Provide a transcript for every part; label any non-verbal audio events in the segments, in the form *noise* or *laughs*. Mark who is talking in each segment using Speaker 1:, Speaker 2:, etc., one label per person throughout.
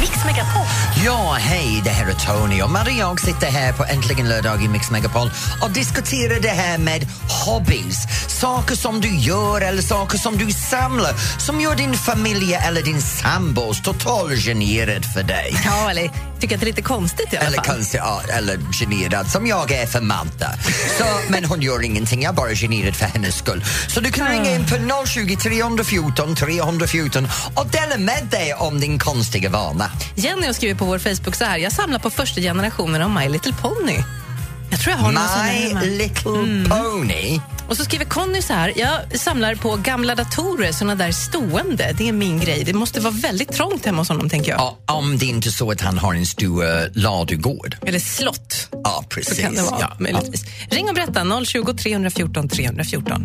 Speaker 1: Mix Megapol.
Speaker 2: Ja, hej, det här är Tony och Marie och jag sitter här på Äntligen lördag i Mix Megapol och diskuterar det här med hobbies. Saker som du gör eller saker som du samlar som gör din familj eller din sambos totalgenerad för dig.
Speaker 1: Ja, eller tycker att det är lite konstigt i alla
Speaker 2: Eller
Speaker 1: fall.
Speaker 2: konstig, ja, eller generad som jag är för Malta. Så, men hon gör ingenting, jag är bara generad för hennes skull. Så du kan ringa in på 020 314 314 och dela med dig om din konstiga vana.
Speaker 1: Jenny har skrivit på vår Facebook så här. Jag samlar på första generationen av My Little Pony. Jag tror jag har någon sån här
Speaker 2: My
Speaker 1: hemma.
Speaker 2: little
Speaker 1: Mm.
Speaker 2: pony.
Speaker 1: Och så skriver Conny så här. Jag samlar på gamla datorer, såna där stående. Det är min grej. Det måste vara väldigt trångt hemma hos honom, tänker jag.
Speaker 2: Ja, om det inte är så att han har en stor eh, ladugård.
Speaker 1: Eller slott.
Speaker 2: Ja, precis.
Speaker 1: Kan det vara,
Speaker 2: ja, ja.
Speaker 1: möjligtvis. Ring och berätta, 020 314 314.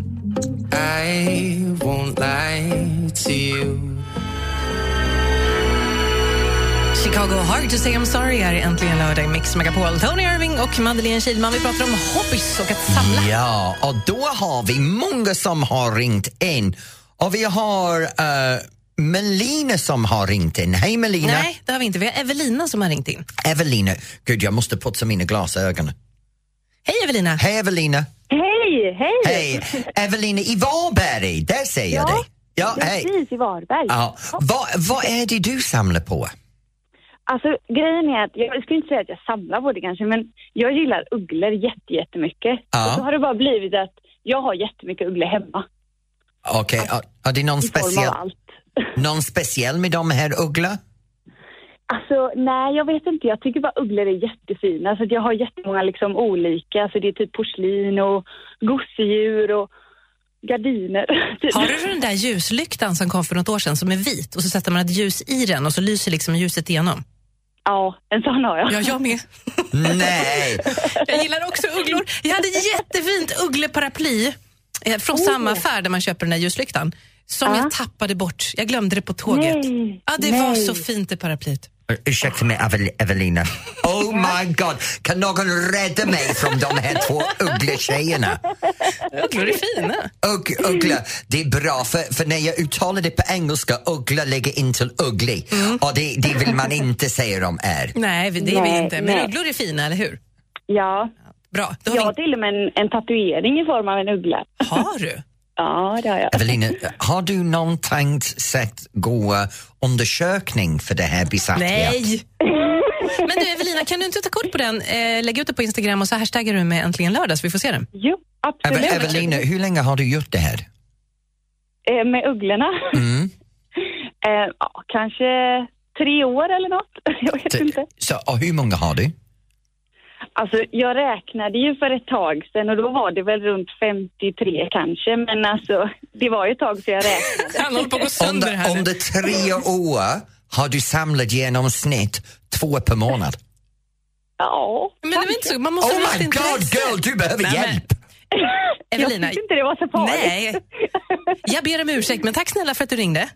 Speaker 3: I won't lie to you.
Speaker 1: Chicago Hard to say I'm sorry här är äntligen lördag i Mix Megapol. Tony Irving och Madeleine Kilman. Vi pratar om hobbys och att samla.
Speaker 2: Ja, och då har vi många som har ringt in. Och vi har eh, Melina som har ringt in. Hej Melina!
Speaker 1: Nej, det har vi inte. Vi har Evelina som har ringt in.
Speaker 2: Evelina, gud jag måste putsa mina glasögon.
Speaker 1: Hej Evelina!
Speaker 2: Hej Evelina!
Speaker 4: Hej, hej!
Speaker 2: Hej! Evelina i Varberg, där ser jag
Speaker 4: Ja,
Speaker 2: dig. Ja, hej.
Speaker 4: Precis, i Varberg.
Speaker 2: Ja. Vad, vad är det du samlar på?
Speaker 4: Alltså grejen är att, jag skulle inte säga att jag samlar på det kanske, men jag gillar ugglor jätte, jättemycket.
Speaker 2: Ja.
Speaker 4: Och så har det bara blivit att jag har jättemycket ugglor hemma.
Speaker 2: Okej, har- har det någon
Speaker 4: I form
Speaker 2: speciell,
Speaker 4: av allt.
Speaker 2: någon speciell med de här ugglorna?
Speaker 4: Alltså nej, jag vet inte. Jag tycker bara ugglor är jättefina. Så att jag har jättemånga liksom olika. Så det är typ porslin och gosedjur och gardiner. *laughs* Typ.
Speaker 1: Har du den där ljuslyktan som kom för något år sedan som är vit och så sätter man ett ljus i den och så lyser liksom ljuset igenom?
Speaker 4: Ja, en sån har jag.
Speaker 1: Ja, jag med.
Speaker 2: Nej!
Speaker 1: Jag gillar också ugglor. Jag hade ett jättefint uggleparaply eh, från samma affär där man köper den där ljuslyktan som jag tappade bort. Jag glömde det på tåget.
Speaker 4: Nej,
Speaker 1: Ja, det var
Speaker 4: nej.
Speaker 1: så fint det paraplyet.
Speaker 2: Ur- Ursäkta mig, Evel- Evelina. Oh my god, kan någon rädda mig från de här två uggletjejerna?
Speaker 1: Ugglor är fina.
Speaker 2: Ugg, uggla, det är bra, för, för när jag uttalar det på engelska, uggla lägger in till ugly.
Speaker 4: Mm.
Speaker 2: Och det, det vill man inte säga de är.
Speaker 1: Nej, det är vi
Speaker 4: Nej,
Speaker 1: inte. Men
Speaker 4: nej.
Speaker 1: ugglor är fina, eller hur?
Speaker 4: Ja,
Speaker 1: Bra. Då har,
Speaker 4: jag har
Speaker 1: vi...
Speaker 4: till och med en, en tatuering i form av en uggla.
Speaker 1: har du?
Speaker 4: Ja, det har jag.
Speaker 2: Evelina, har du någon tänkt sett gå eh, undersökning för det här besatthet?
Speaker 4: *laughs*
Speaker 1: Nej! Men du Evelina, kan du inte ta kort på den? Eh, lägg ut det på Instagram och så hashtaggar du med äntligen lördag så vi får se den.
Speaker 4: Jo, absolut.
Speaker 2: Eve- Evelina, hur länge har du gjort det här?
Speaker 4: Eh, med ugglorna?
Speaker 2: Mm.
Speaker 4: *laughs* Eh, ja, kanske tre år eller något. *laughs* Jag vet inte.
Speaker 2: Så, och hur många har du?
Speaker 4: Alltså, jag räknade ju för ett tag sedan och då var det väl runt 53 kanske. Men alltså, det var ju ett tag sedan jag räknade.
Speaker 2: *laughs*
Speaker 1: Han håller på att gå sönder
Speaker 2: Under,
Speaker 1: här nu.
Speaker 2: under tre år har du samlat genomsnitt två per månad.
Speaker 4: Ja,
Speaker 1: Men det var inte så, man måste
Speaker 2: Oh
Speaker 1: ha ett
Speaker 2: my god
Speaker 1: intresse.
Speaker 2: girl, du behöver
Speaker 1: Nej, men-
Speaker 2: hjälp!
Speaker 1: Evelina,
Speaker 4: jag tyckte inte det var så farligt.
Speaker 1: nej. Jag ber om ursäkt, men tack snälla för att du ringde.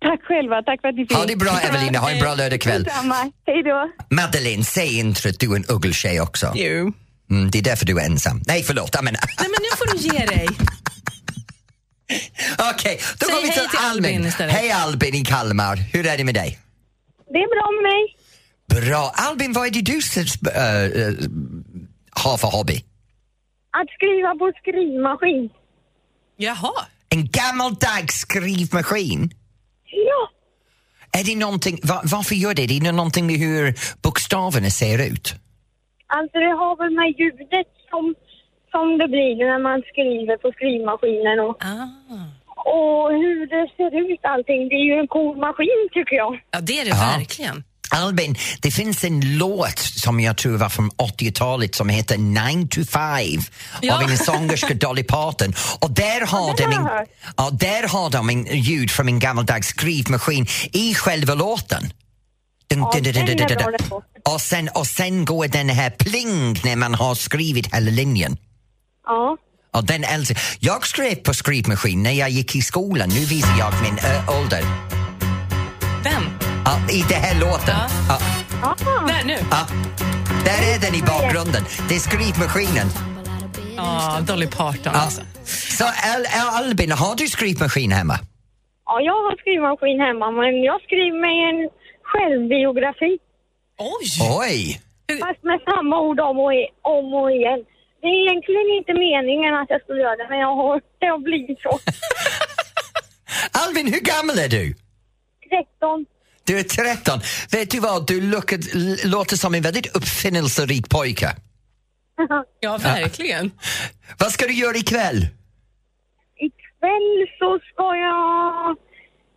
Speaker 4: Tack själva, tack för att ni fick.
Speaker 2: Ha det bra Evelina, ha en bra lördagkväll.
Speaker 4: Detsamma. Hej då.
Speaker 2: Madeleine, säg inte att du är en uggletjej också.
Speaker 1: Jo.
Speaker 2: Mm, det är därför du är ensam. Nej, förlåt. Jag menar-
Speaker 1: Nej, men nu får du ge dig.
Speaker 2: *laughs* Okej, då
Speaker 1: Säg
Speaker 2: går vi
Speaker 1: hej
Speaker 2: till
Speaker 1: till Albin
Speaker 2: Albin.
Speaker 1: istället.
Speaker 2: Hej Albin i Kalmar, hur är det med dig?
Speaker 4: Det är bra med mig.
Speaker 2: Bra. Albin, vad är det du äh, har för hobby?
Speaker 4: Att skriva på skrivmaskin.
Speaker 1: Jaha.
Speaker 2: En gammaldags skrivmaskin?
Speaker 4: Ja.
Speaker 2: Är det någonting, va, varför gör det? Det är någonting med hur bokstäverna ser ut.
Speaker 4: Alltså det har väl med ljudet som, som det blir när man skriver på skrivmaskinen och,
Speaker 1: Ah.
Speaker 4: och hur det ser ut allting. Det är ju en cool maskin tycker jag.
Speaker 1: Ja, det är det
Speaker 2: Ja.
Speaker 1: verkligen.
Speaker 2: Albin, det finns en låt som jag tror var från 80-talet som heter 9 to 5
Speaker 1: Ja.
Speaker 2: av en sångerska Dolly Parton. Och där har, de
Speaker 4: den har
Speaker 2: en,
Speaker 4: jag hört.
Speaker 2: ja, där har de en ljud från en gammaldags skrivmaskin i själva låten. Dun,
Speaker 4: Ja,
Speaker 2: dun, dun, dun,
Speaker 4: den
Speaker 2: dun,
Speaker 4: är
Speaker 2: dun,
Speaker 4: bra,
Speaker 2: dun.
Speaker 4: den låten.
Speaker 2: Och sen, och sen går den här pling när man har skrivit hela linjen.
Speaker 4: Ja.
Speaker 2: Och den älskar. Jag skrev på skrivmaskin när jag gick i skolan. Nu visar jag min äh, ålder.
Speaker 1: Den.
Speaker 2: Ja, I den här låten.
Speaker 1: Ja.
Speaker 2: Ja.
Speaker 4: Ah.
Speaker 1: Där, nu.
Speaker 2: Ja, där är den i bakgrunden. Det är skrivmaskinen.
Speaker 1: Ja, Dolly Parton
Speaker 2: Ja.
Speaker 1: alltså.
Speaker 2: Så Al Al Albin, har du skrivmaskin hemma?
Speaker 5: Ja, jag har skrivmaskin hemma, men jag skriver mig en självbiografi.
Speaker 1: Oj!
Speaker 2: Oj!
Speaker 5: Fast med samma ord om och, i- om och igen. Det är egentligen inte meningen att jag skulle göra det, men jag har det att bli
Speaker 4: *laughs*
Speaker 5: så.
Speaker 2: Alvin, hur gammal är du?
Speaker 4: *laughs*
Speaker 5: 13.
Speaker 2: Du är 13. Vet du vad, du lukar, låter som en väldigt uppfinningsrik pojke.
Speaker 1: Ja, verkligen.
Speaker 2: Vad ska du göra ikväll?
Speaker 5: Ikväll så ska jag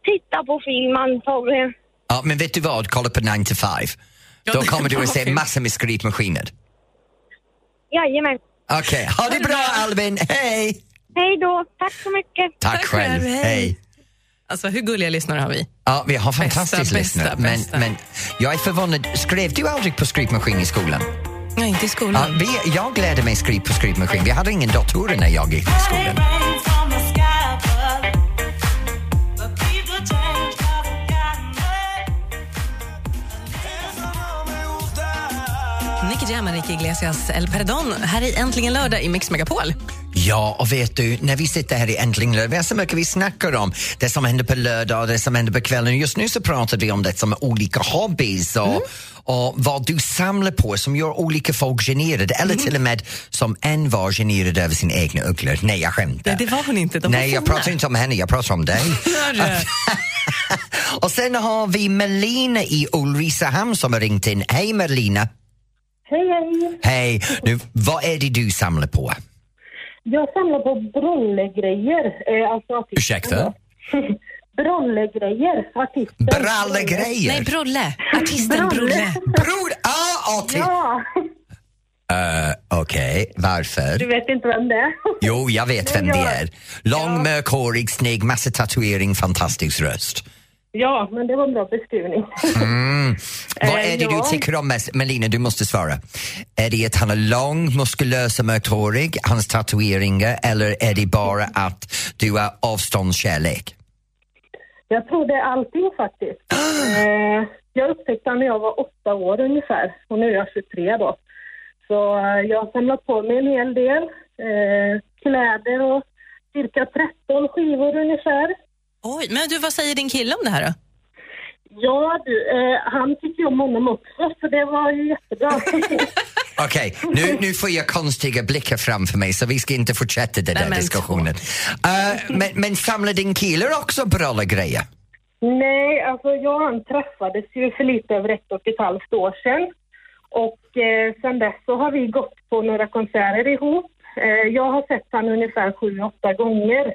Speaker 5: titta på film antagligen.
Speaker 2: Ja, men vet du vad, kolla på 9 to 5.
Speaker 1: Ja,
Speaker 2: Då
Speaker 1: det
Speaker 2: kommer du
Speaker 1: var
Speaker 2: att se
Speaker 1: fint.
Speaker 2: massor med skrivmaskiner.
Speaker 5: Jajamän.
Speaker 2: Okej, ha det bra Alvin, hej!
Speaker 5: Hej då, tack så mycket.
Speaker 2: Tack,
Speaker 1: Tack
Speaker 2: själv,
Speaker 1: själv, hej.
Speaker 2: hej.
Speaker 1: Alltså, hur gulliga lyssnare har vi?
Speaker 2: Ja, vi har fantastiskt
Speaker 1: bästa,
Speaker 2: lyssnare. Men,
Speaker 1: bästa.
Speaker 2: men jag är förvånad, skrev du aldrig på skrivmaskin i skolan?
Speaker 1: Nej, inte i
Speaker 2: Ja,
Speaker 1: skolan.
Speaker 2: vi, jag lärde mig skriv på skrivmaskin. Vi hade ingen datorer när jag gick i skolan. Ah.
Speaker 1: Nicky Jam, Enrique Iglesias El Perdon, här i Äntligen lördag i Mix Megapol.
Speaker 2: Ja, och vet du, när vi sitter här i Äntligen lördag, vi har så mycket vi snackar om. Det som händer på lördag, det som händer på kvällen. Just nu så pratar vi om det som är olika hobbies och,
Speaker 1: Mm.
Speaker 2: och vad du samlar på som gör olika folk generade. Eller
Speaker 1: Mm.
Speaker 2: till och med som en var generad över sina egna ugglor. Nej, jag skämtar.
Speaker 1: Nej, det var hon inte. De var
Speaker 2: Nej, jag
Speaker 1: fina.
Speaker 2: pratar inte om henne, jag pratar om dig.
Speaker 1: Hör du?
Speaker 2: och sen har vi Melina i Ulricehamn som har ringt in. Hej Melina!
Speaker 5: Hej, hej.
Speaker 2: Hej! Nu, vad är det du samlar på?
Speaker 5: Jag samlar på brollegrejer. Eh, alltså artister.
Speaker 2: Ursäkta?
Speaker 5: Brollegrejer, artister.
Speaker 2: Brallegrejer!
Speaker 1: Nej, Brolle. Artisten Brolle.
Speaker 2: Bror! Ah, Ati!
Speaker 5: Ja,
Speaker 2: Okej,
Speaker 5: du
Speaker 2: varför?
Speaker 5: vet inte vem det är. *laughs*
Speaker 2: Jo, jag vet vem det är. Lång, mörkhårig, snygg, massa tatuering, fantastisk röst.
Speaker 5: Ja, men det var en bra beskrivning.
Speaker 2: Vad
Speaker 5: Eh,
Speaker 2: är det
Speaker 5: ja.
Speaker 2: du tycker om mest? Melina, du måste svara. Är det att han är lång, muskulös och mörkhårig, hans tatueringar eller är det bara att du har avståndskärlek?
Speaker 5: Jag tror det är allting faktiskt. Eh, jag upptäckte han när jag var åtta år ungefär och nu är jag 23 då. Så eh, jag har samlat på mig en hel del eh, kläder och cirka 13 skivor ungefär.
Speaker 1: Oj, men du, vad säger din kille om det här då?
Speaker 5: Ja du, eh, han tycker ju om honom också så det var ju jättebra. *laughs*
Speaker 2: Okej, nu, nu får jag konstiga blickar framför mig så vi ska inte fortsätta den
Speaker 1: Nej,
Speaker 2: där
Speaker 1: men
Speaker 2: diskussionen. Eh, men, men samlar din kille också bra grejer?
Speaker 5: Nej, alltså jag och han träffades ju för lite över ett och ett halvt år sedan. Och eh, sedan dess så har vi gått på några konserter ihop. Eh, jag har sett han ungefär sju, åtta gånger.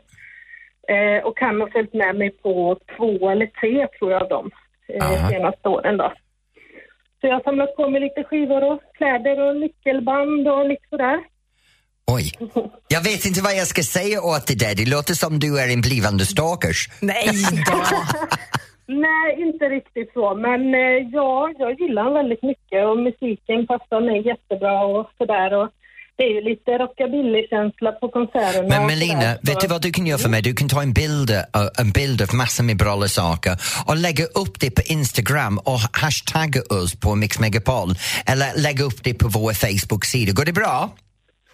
Speaker 5: Eh, och han har följt med mig på två eller tre tror jag av dem eh,
Speaker 2: Aha.
Speaker 5: senaste åren då. Så jag har samlat på mig lite skivor och kläder och nyckelband och lite sådär.
Speaker 2: Oj. Jag vet inte vad jag ska säga åt det där. Det låter som du är en blivande stalkers.
Speaker 1: *laughs* Nej då.
Speaker 5: Nej, inte riktigt så. Men eh, ja, jag gillar honom väldigt mycket och musiken passar mig jättebra och sådär. Och det är ju lite rockabillykänsla på konserterna.
Speaker 2: Men
Speaker 5: och
Speaker 2: Melina,
Speaker 5: sådär, så-
Speaker 2: vet du vad du kan göra för mig? Du kan ta en bild, eh, en bild av massor med bra saker och lägga upp det på Instagram och hashtagga oss på Mix Megapol eller lägga upp det på vår Facebook-sida. Går det bra?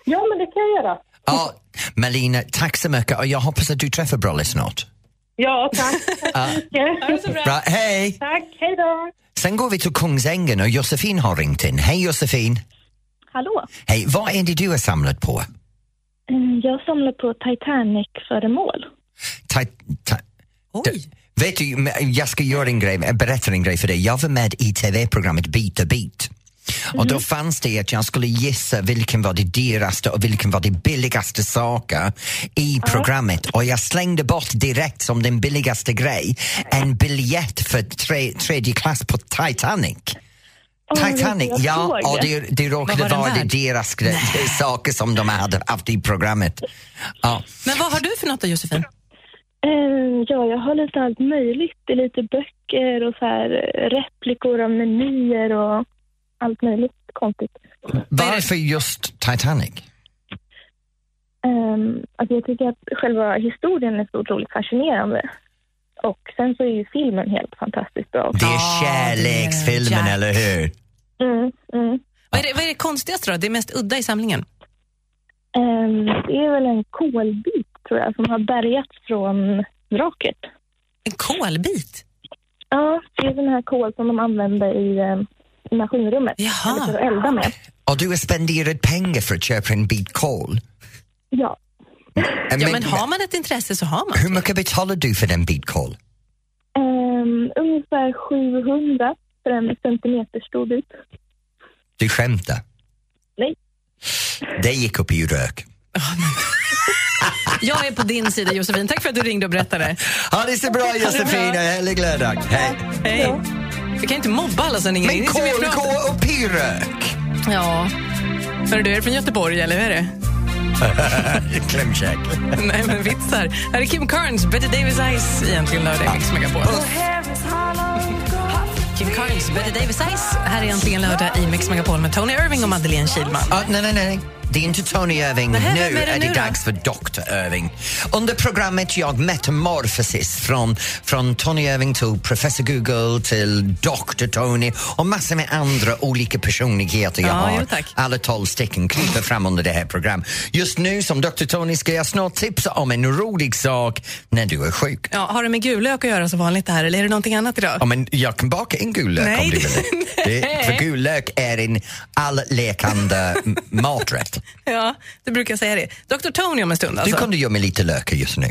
Speaker 5: Ja, men det kan jag göra.
Speaker 2: Ja, Melina, tack så mycket och jag hoppas att du träffar Brolle snart.
Speaker 5: Ja, tack. Tack så mycket.
Speaker 2: Bra, hej!
Speaker 5: Tack, hej då.
Speaker 2: Sen går vi till Kungsängen och Josefin har ringt in. Hej Josefin!
Speaker 6: Hallå!
Speaker 2: Hej, vad är det du har samlat på?
Speaker 6: Eh, Jag samlar på Titanic-föremål.
Speaker 2: Ta, ta,
Speaker 1: Oj.
Speaker 2: Vet du, men jag ska göra en grej, berätta en grej för dig. Jag var med i tv-programmet Bit och bit. Och
Speaker 1: Mm.
Speaker 2: då fanns det att jag skulle gissa vilken var det dyraste och vilken var det billigaste saker i programmet. Och jag slängde bort direkt som den billigaste grej en biljett för tre, tredje klass på Titanic.
Speaker 6: Åh,
Speaker 2: Titanic,
Speaker 6: jag
Speaker 2: ja,
Speaker 6: såg
Speaker 2: och
Speaker 6: det.
Speaker 2: det, det råkade
Speaker 1: Vad var den
Speaker 2: vara det
Speaker 1: värd?
Speaker 2: deras gre- saker som de hade haft i programmet. Ja.
Speaker 1: Men vad har du för något då, Josefin?
Speaker 6: Eh, Ja, jag har lite allt möjligt. Det är lite böcker och så här eh, replikor av menyer och allt möjligt konstigt.
Speaker 2: Varför just Titanic?
Speaker 6: Ehm, Alltså jag tycker att själva historien är så otroligt fascinerande. Och sen så är ju filmen helt fantastiskt bra. också.
Speaker 2: Det är
Speaker 1: Ja, det
Speaker 2: kärleksfilmen,
Speaker 1: är Jack.
Speaker 2: eller hur?
Speaker 6: Mm, mm.
Speaker 1: Vad är, det, vad är det konstigaste då? Det mest udda i samlingen?
Speaker 6: Ehm, Det är väl en kolbit tror jag som har bärgats från vraket.
Speaker 1: En kolbit?
Speaker 6: Ja, det är den här kol som de använder i, eh, i maskinrummet.
Speaker 1: Jaha.
Speaker 6: Eller för att elda med.
Speaker 2: Och du har spenderat pengar för att köpa en bit kol?
Speaker 6: Ja.
Speaker 2: Eh,
Speaker 1: Ja, men har man ett intresse så har man.
Speaker 2: Hur mycket betalar du för den bit kol?
Speaker 6: Ehm, ungefär 700 för en centimeter stor bit.
Speaker 2: Du skämtar?
Speaker 6: Nej.
Speaker 2: Det gick upp i rök.
Speaker 1: Jag är på din sida Josefin. Tack för att du ringde och berättade.
Speaker 2: Ha det så bra Josefina, härlig lördag. Hej.
Speaker 1: Hej. Vi kan inte mobba alla som ringer in.
Speaker 2: Men
Speaker 1: Det är som vi
Speaker 2: kol
Speaker 1: pratar-
Speaker 2: går upp i rök.
Speaker 1: Ja. Hörru du, är du från Göteborg eller hur är det?
Speaker 2: Klämkäck.
Speaker 1: Nej men vitsar. Här är Kim Carnes, Betty Davis Eyes egentligen lördag. Mix Megapol. Kim Carnes, Betty Davis Eyes. Här är egentligen lördag i Mix Megapol med Tony Irving och Madeleine Kilman.
Speaker 2: Ah, nej, nej, nej. Det är inte Tony Irving.
Speaker 1: Nej, vem
Speaker 2: nu
Speaker 1: är
Speaker 2: är
Speaker 1: det
Speaker 2: det,
Speaker 1: nu då?
Speaker 2: dags för Dr. Irving. Under programmet jag metamorfosis från, från Tony Irving till Professor Google till Dr. Tony och massor med andra olika personligheter jag
Speaker 1: Ja,
Speaker 2: har.
Speaker 1: jo, tack.
Speaker 2: Alla tolv stycken kryper fram under det här programmet. Just nu som Dr. Tony ska jag snart tipsa om en rolig sak när du är sjuk.
Speaker 1: Ja, har det med gullök att göra som vanligt det här eller är det någonting annat
Speaker 2: Ja,
Speaker 1: idag?
Speaker 2: men jag kan baka en gul lök
Speaker 1: Nej,
Speaker 2: om du vill.
Speaker 1: *laughs* det-
Speaker 2: Det, det, för gul lök är en allekande m- maträtt.
Speaker 1: Ja, du brukar säga det. Dr Tony om en stund
Speaker 2: Du
Speaker 1: alltså.
Speaker 2: kunde göra med lite lök just nu.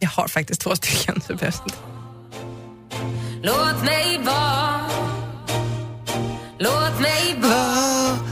Speaker 1: Jag har faktiskt två stycken. Så det behövs inte.
Speaker 7: Låt mig vara Låt mig vara
Speaker 1: *laughs*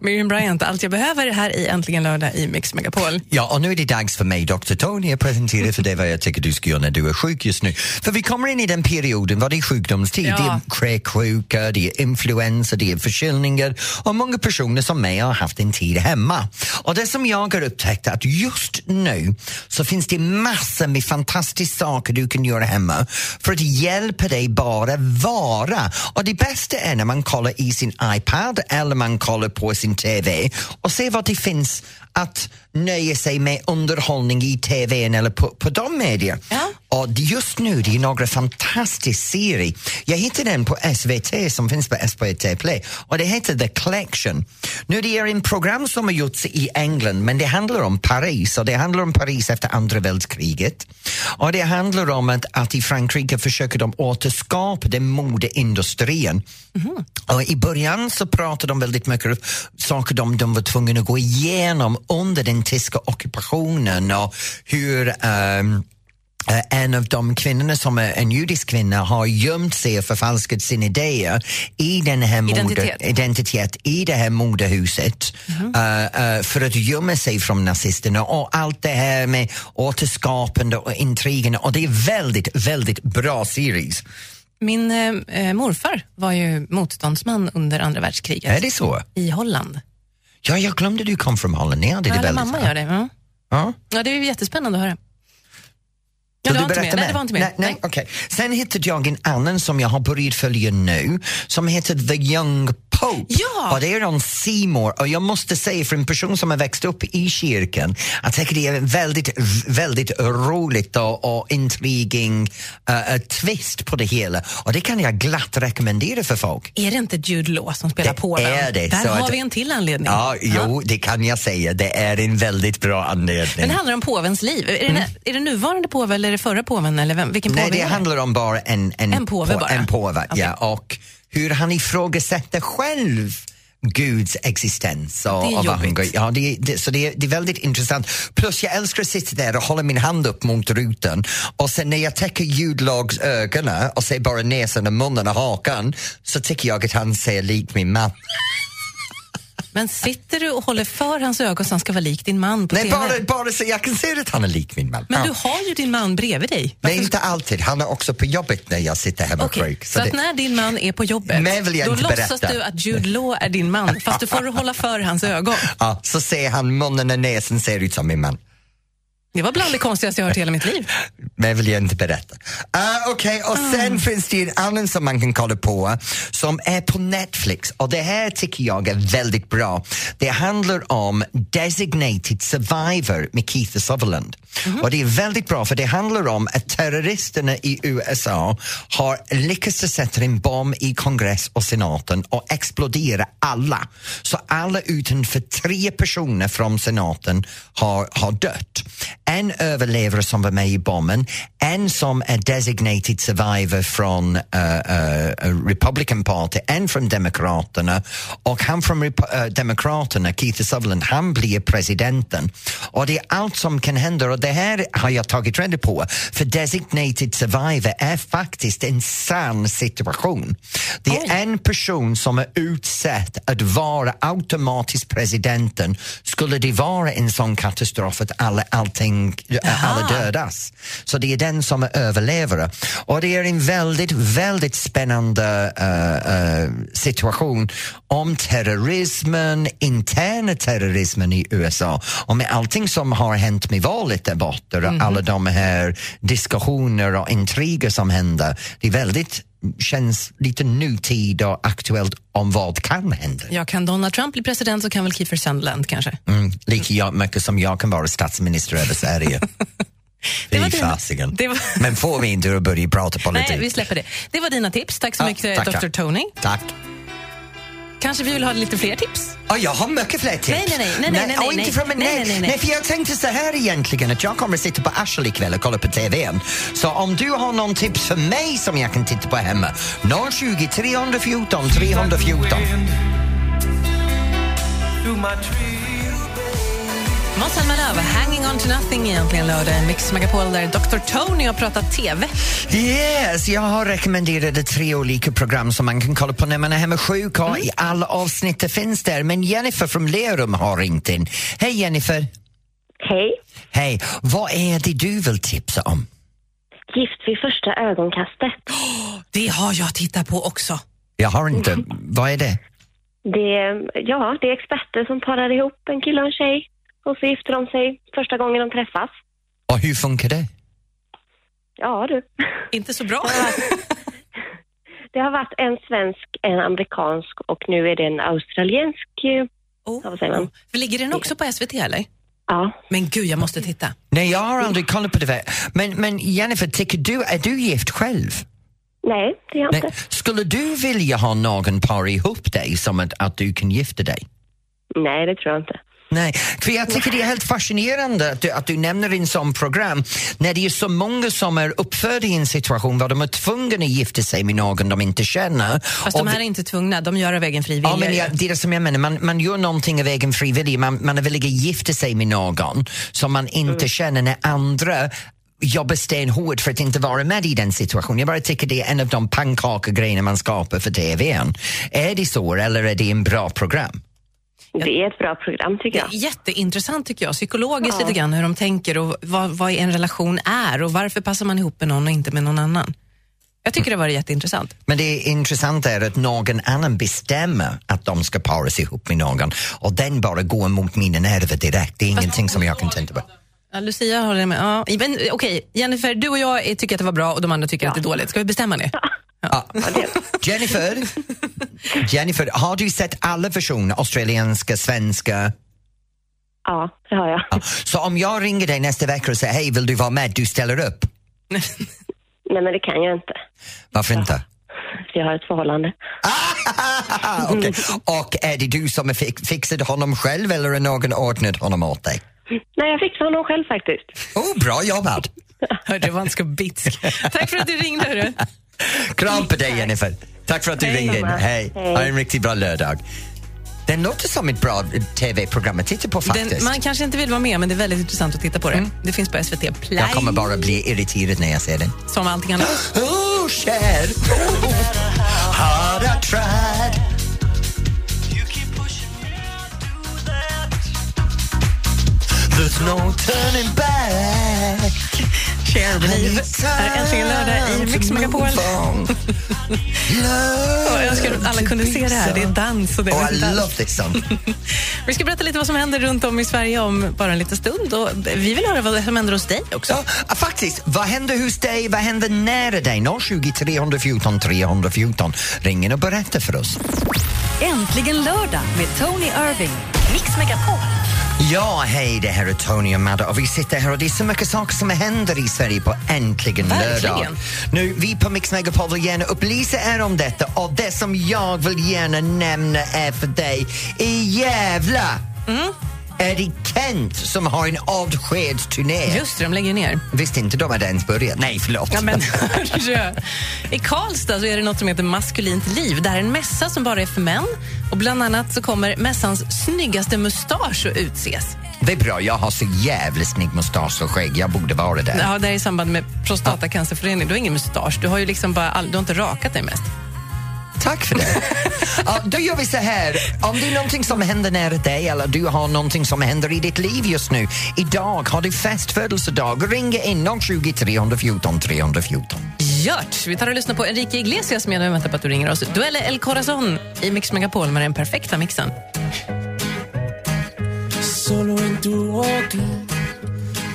Speaker 1: Miriam Bryant, allt jag behöver här i Äntligen lördag i Mix Megapol.
Speaker 2: Ja, och nu är det dags för mig, Dr. Tony, att presentera för dig vad jag tycker du ska göra när du är sjuk just nu. För vi kommer in i den perioden, vad det är sjukdomstid.
Speaker 1: Ja.
Speaker 2: Det är kräksjuka, det är influensa, det är förkylningar och många personer som mig har haft en tid hemma. Och det som jag har upptäckt är att just nu så finns det massor med fantastiska saker du kan göra hemma för att hjälpa dig bara vara. Och det bästa är när man kollar i sin iPad eller man kollar på sin TV och ser vad det finns att nöja sig med underhållning i TVn eller på, på de medier.
Speaker 1: Ja.
Speaker 2: Och just nu det är några fantastiska serier. Jag hittade en på SVT som finns på SVT Play och det heter The Collection. Nu det är en program som har gjorts i England men det handlar om Paris och det handlar om Paris efter andra världskriget. Och det handlar om att, att i Frankrike försöker de återskapa den modeindustrin. Och I början så pratade de väldigt mycket om saker de, de var tvungna att gå igenom under den tyska ockupationen och hur ehm, Eh, en av de kvinnorna som är en judisk kvinna har gömt sig och förfalskat sina idéer i den här
Speaker 1: Identitet.
Speaker 2: mode, identitet i det här modehuset eh, eh, för att gömma sig från nazisterna och allt det här med återskapande och intrigerna och det är väldigt, väldigt bra series.
Speaker 1: Min eh, eh, morfar var ju motståndsman under andra världskriget
Speaker 2: Är det så?
Speaker 1: i Holland.
Speaker 2: Ja, jag glömde du kom från Holland. Ni hade det
Speaker 1: Alla
Speaker 2: väldigt...
Speaker 1: mamma gör det. Ja.
Speaker 2: Ja.
Speaker 1: ja, det är ju jättespännande att höra. Ja,
Speaker 2: Så
Speaker 1: det,
Speaker 2: du
Speaker 1: var inte med.
Speaker 2: berättar
Speaker 1: Nej, det var inte med.
Speaker 2: Nej, nej, okej. Sen hittade jag en annan som jag har börjat följa nu som heter The Young Pope.
Speaker 1: Ja!
Speaker 2: Och det är om Seymour och jag måste säga för en person som har växt upp i kyrkan jag tycker det är en väldigt, väldigt roligt och, och intriguing eh, eh, twist på det hela och det kan jag glatt rekommendera för folk.
Speaker 1: Är det inte Jude Law som spelar
Speaker 2: Det
Speaker 1: Paul?
Speaker 2: är det,
Speaker 1: Där
Speaker 2: så
Speaker 1: har
Speaker 2: att-
Speaker 1: vi en till anledning.
Speaker 2: Ja, jo, det kan jag säga. Det är en väldigt bra anledning.
Speaker 1: Den handlar om påvens liv. Är, det, är det nuvarande påve eller är det förra påven? Eller vem? Vilken
Speaker 2: Mm. Nej,
Speaker 1: påve
Speaker 2: det
Speaker 1: är
Speaker 2: handlar om bara en, en,
Speaker 1: En påve bara?
Speaker 2: En påve
Speaker 1: Okej.
Speaker 2: ja, och hur han ifrågasätter själv Guds existens. Och,
Speaker 1: Det är
Speaker 2: och vad han
Speaker 1: jobbigt.
Speaker 2: går- ja, det, det, så det, är- det är väldigt intressant. Plus jag älskar att sitta där och hålla min hand upp mot rutan och sen när jag täcker ljudlags ögonen och ser bara näsan och munnen och hakan så tycker jag att han ser lik min man.
Speaker 1: Men sitter du och håller för hans ögon så han ska vara lik din man på
Speaker 2: Nej,
Speaker 1: TV?
Speaker 2: bara, bara så jag kan se att han är lik min man.
Speaker 1: Men
Speaker 2: Ja.
Speaker 1: du har ju din man bredvid dig.
Speaker 2: Nej, inte alltid. Han är också på jobbet när jag sitter hemma
Speaker 1: Okej,
Speaker 2: sjuk.
Speaker 1: Så, att
Speaker 2: det-
Speaker 1: när din man är på jobbet,
Speaker 2: Mer vill jag
Speaker 1: då
Speaker 2: inte
Speaker 1: låtsas
Speaker 2: berätta.
Speaker 1: du att Jude Law är din man, fast du får hålla för hans ögon.
Speaker 2: Ja, så ser han munnen och näsan ser ut som min man.
Speaker 1: Det var bland det konstigaste jag hört i hela mitt liv.
Speaker 2: men jag vill ju inte berätta. Uh, Okej, och sen finns det ju en annan som man kan kolla på som är på Netflix och det här tycker jag är väldigt bra. Det handlar om Designated Survivor med Keith Sutherland. Och det är väldigt bra för det handlar om att terroristerna i USA har lyckats att sätta en bomb i kongress och senaten och explodera alla. Så alla utan för tre personer från senaten har, har dött. En överlevare som var med i bomben, en som är designated survivor från eh, eh, Republican Party, en från Demokraterna och han från Rep- eh, Demokraterna, Keith Sutherland, han blir presidenten. Och det är allt som kan hända och det här har jag tagit reda på för designated survivor är faktiskt en sann situation. Det är en person som är utsatt att vara automatiskt presidenten. Skulle det vara en sån katastrof att alla, allting, eh, alla dödas. Så det är den som är överlevare. Och det är en väldigt, väldigt spännande eh, eh, situation om terrorismen, interna terrorismen i USA och med allting som har hänt med valet där borta och alla de här diskussioner och intriger som händer. Det är väldigt känns lite nutid och aktuellt om vad kan hända.
Speaker 1: Ja, kan Donald Trump bli president så kan väl Kiefer Sutherland kanske.
Speaker 2: Mm, lika jag, mycket som jag kan vara statsminister
Speaker 1: *laughs*
Speaker 2: över Sverige.
Speaker 1: Det var
Speaker 2: Fy
Speaker 1: dina-
Speaker 2: fasiken.
Speaker 1: det var-
Speaker 2: Men får vi inte att börja prata politik?
Speaker 1: Nej, vi släpper det. Det var dina tips. Tack så
Speaker 2: Ja,
Speaker 1: mycket,
Speaker 2: tackar.
Speaker 1: Dr. Tony.
Speaker 2: Tack.
Speaker 1: Kanske vi vill ha lite fler tips?
Speaker 2: Ja, jag har mycket fler tips.
Speaker 1: Nej, nej, nej, nej, nej, nej,
Speaker 2: och inte
Speaker 1: nej,
Speaker 2: från mig,
Speaker 1: nej,
Speaker 2: nej,
Speaker 1: nej, nej, nej.
Speaker 2: för jag tänkte så här egentligen att jag kommer att sitta på Ashley ikväll och kolla på TVn. Så om du har någon tips för mig som jag kan titta på hemma, 020 314 314.
Speaker 1: Måns Zelmerlöw, Hanging on to nothing egentligen lördag. Mix Megapol där Dr. Tony har pratat TV.
Speaker 2: Yes, jag har rekommenderat tre olika program som man kan kolla på när man är hemma sjuk och i alla avsnitt det finns där. Men Jennifer från Lerum har ringt in. Hej Jennifer!
Speaker 8: Hej.
Speaker 2: Hej, vad är det du vill tipsa om?
Speaker 8: Gift vid första ögonkastet.
Speaker 1: Det har jag tittat på också.
Speaker 2: Jag har inte, vad är det?
Speaker 8: Det är, ja, det är experter som parar ihop en kille och en tjej och så gifter de sig första gången de träffas.
Speaker 2: Och hur funkar det?
Speaker 8: Ja du. *laughs*
Speaker 1: Inte så bra.
Speaker 8: Det har varit en svensk, en amerikansk och nu är det en australiensk.
Speaker 1: *laughs*
Speaker 8: eh,
Speaker 1: Oh.
Speaker 8: Ja, vad säger man?
Speaker 1: För Ligger den också på SVT eller?
Speaker 8: Ja.
Speaker 1: Men gud, jag måste titta.
Speaker 2: Nej, jag har aldrig kollat på det. där. Men, men Jennifer, tycker du, är du gift själv?
Speaker 8: Nej, det är jag
Speaker 2: Nej.
Speaker 8: inte.
Speaker 2: Skulle du vilja ha någon par ihop dig som att, att du kan gifta dig?
Speaker 8: Nej, det tror jag inte.
Speaker 2: Nej, för jag tycker det är helt fascinerande att du, att du nämner en sån program när det är så många som är uppfödda i en situation där de är tvungna att gifta sig med någon de inte känner.
Speaker 1: Fast de
Speaker 2: Och
Speaker 1: här är inte tvungna, de gör av egen fri vilja.
Speaker 2: Ja, men
Speaker 1: ju.
Speaker 2: jag, det är det som jag menar, man, man gör någonting av egen frivillig, man, man är villig att gifta sig med någon som man inte känner när andra jobbar stenhårt för att inte vara med i den situationen. Jag bara tycker det är en av de pannkakegrejerna man skapar för TVn. Är det så eller är det en bra program?
Speaker 8: Det är ett bra program tycker jag.
Speaker 1: Jätteintressant tycker jag, psykologiskt lite grann hur de tänker och vad, vad en relation är och varför passar man ihop med någon och inte med någon annan. Jag tycker det var jätteintressant.
Speaker 2: Men det intressanta är att någon annan bestämmer att de ska paras ihop med någon och den bara går mot mina nerver direkt. Det är ingenting som jag kan tänka på.
Speaker 1: Ja, Lucia håller med. Ja, men, eh, okej, Jennifer, du och jag eh, tycker att det var bra och de andra tycker att det är dåligt. Ska vi bestämma det?
Speaker 2: Ah. Jennifer, Jennifer, har du sett alla versioner? Australienska, svenska?
Speaker 8: Ja, det har jag.
Speaker 2: Ja. Så om jag ringer dig nästa vecka och säger hej, vill du vara med? Du ställer upp?
Speaker 8: Nej, men det kan jag inte.
Speaker 2: Varför inte?
Speaker 8: För jag har ett förhållande.
Speaker 2: Ah, okej. Och är det du som har fi- fixat honom själv eller har någon ordnat honom åt dig?
Speaker 8: Nej, jag fixar honom själv faktiskt.
Speaker 2: Oh, bra jobbat!
Speaker 1: Hörde, det var inte så bitsk. *laughs* Tack för att du ringde. Hörru.
Speaker 2: Kram på dig Jennifer. Tack för att du ringde in. Hej. Ha en riktigt bra lördag. Den låter som ett bra tv-program att titta på faktiskt. Mm.
Speaker 1: Den, man kanske inte vill vara med, men det är väldigt intressant att titta på det. Det finns på SVT Play,
Speaker 2: Jag kommer bara bli irriterad när jag ser den.
Speaker 1: som allting annat.
Speaker 2: Oh, kär. Oh, hard I tried. There's no turning back.
Speaker 1: Cher, Believe. Här är Äntligen lördag i Mix Megapol.
Speaker 2: Move on. Love
Speaker 1: Jag önskar att alla
Speaker 2: to
Speaker 1: kunde
Speaker 2: be
Speaker 1: se det här. Det är
Speaker 2: so.
Speaker 1: dans och det
Speaker 2: Oh,
Speaker 1: är
Speaker 2: I
Speaker 1: dans.
Speaker 2: love this song.
Speaker 1: *laughs* Vi ska berätta lite vad som händer runt om i Sverige om bara en liten stund. Och vi vill höra vad som händer hos dig också.
Speaker 2: Ja, ah, faktiskt, vad händer hos dig? Vad händer nära dig? 020 314 314. Ring in och berätta för oss.
Speaker 9: Äntligen lördag med Tony Irving. Mix Megapol.
Speaker 2: Ja, hej, det här är Tony och Madde och vi sitter här och det är så mycket saker som händer i Sverige på Äntligen
Speaker 1: Verkligen.
Speaker 2: lördag. Nu, vi på Mix Megapol vill gärna upplysa er om detta och det som jag vill gärna nämna är för dig i Gävle. Är det Kent som har en avskedsturné?
Speaker 1: Just det, de lägger ner.
Speaker 2: Visste inte de hade ens börjat? Nej, förlåt.
Speaker 1: Ja, men, *laughs* hörru. I Karlstad så är det något som heter Maskulint liv. Det här är en mässa som bara är för män. Och bland annat så kommer mässans snyggaste mustasch att utses.
Speaker 2: Det är bra, jag har så jävla snygg mustasch och skägg. Jag borde vara där.
Speaker 1: Ja, det här är i samband med prostatacancerföreningen. Du har ingen mustasch. Du har ju liksom bara all... du har inte rakat dig mest.
Speaker 2: Tack för det. ja, då gör vi så här. Om det är någonting som händer nära dig eller du har någonting som händer i ditt liv just nu. Idag har du fest födelsedag. Ring in 020 314 314.
Speaker 1: Gjort! Vi tar och lyssnar på Enrique Iglesias medan vi väntar på att du ringer oss. Duelle El Corazon i Mix Megapol med den perfekta mixen.
Speaker 3: Solo en tu boca,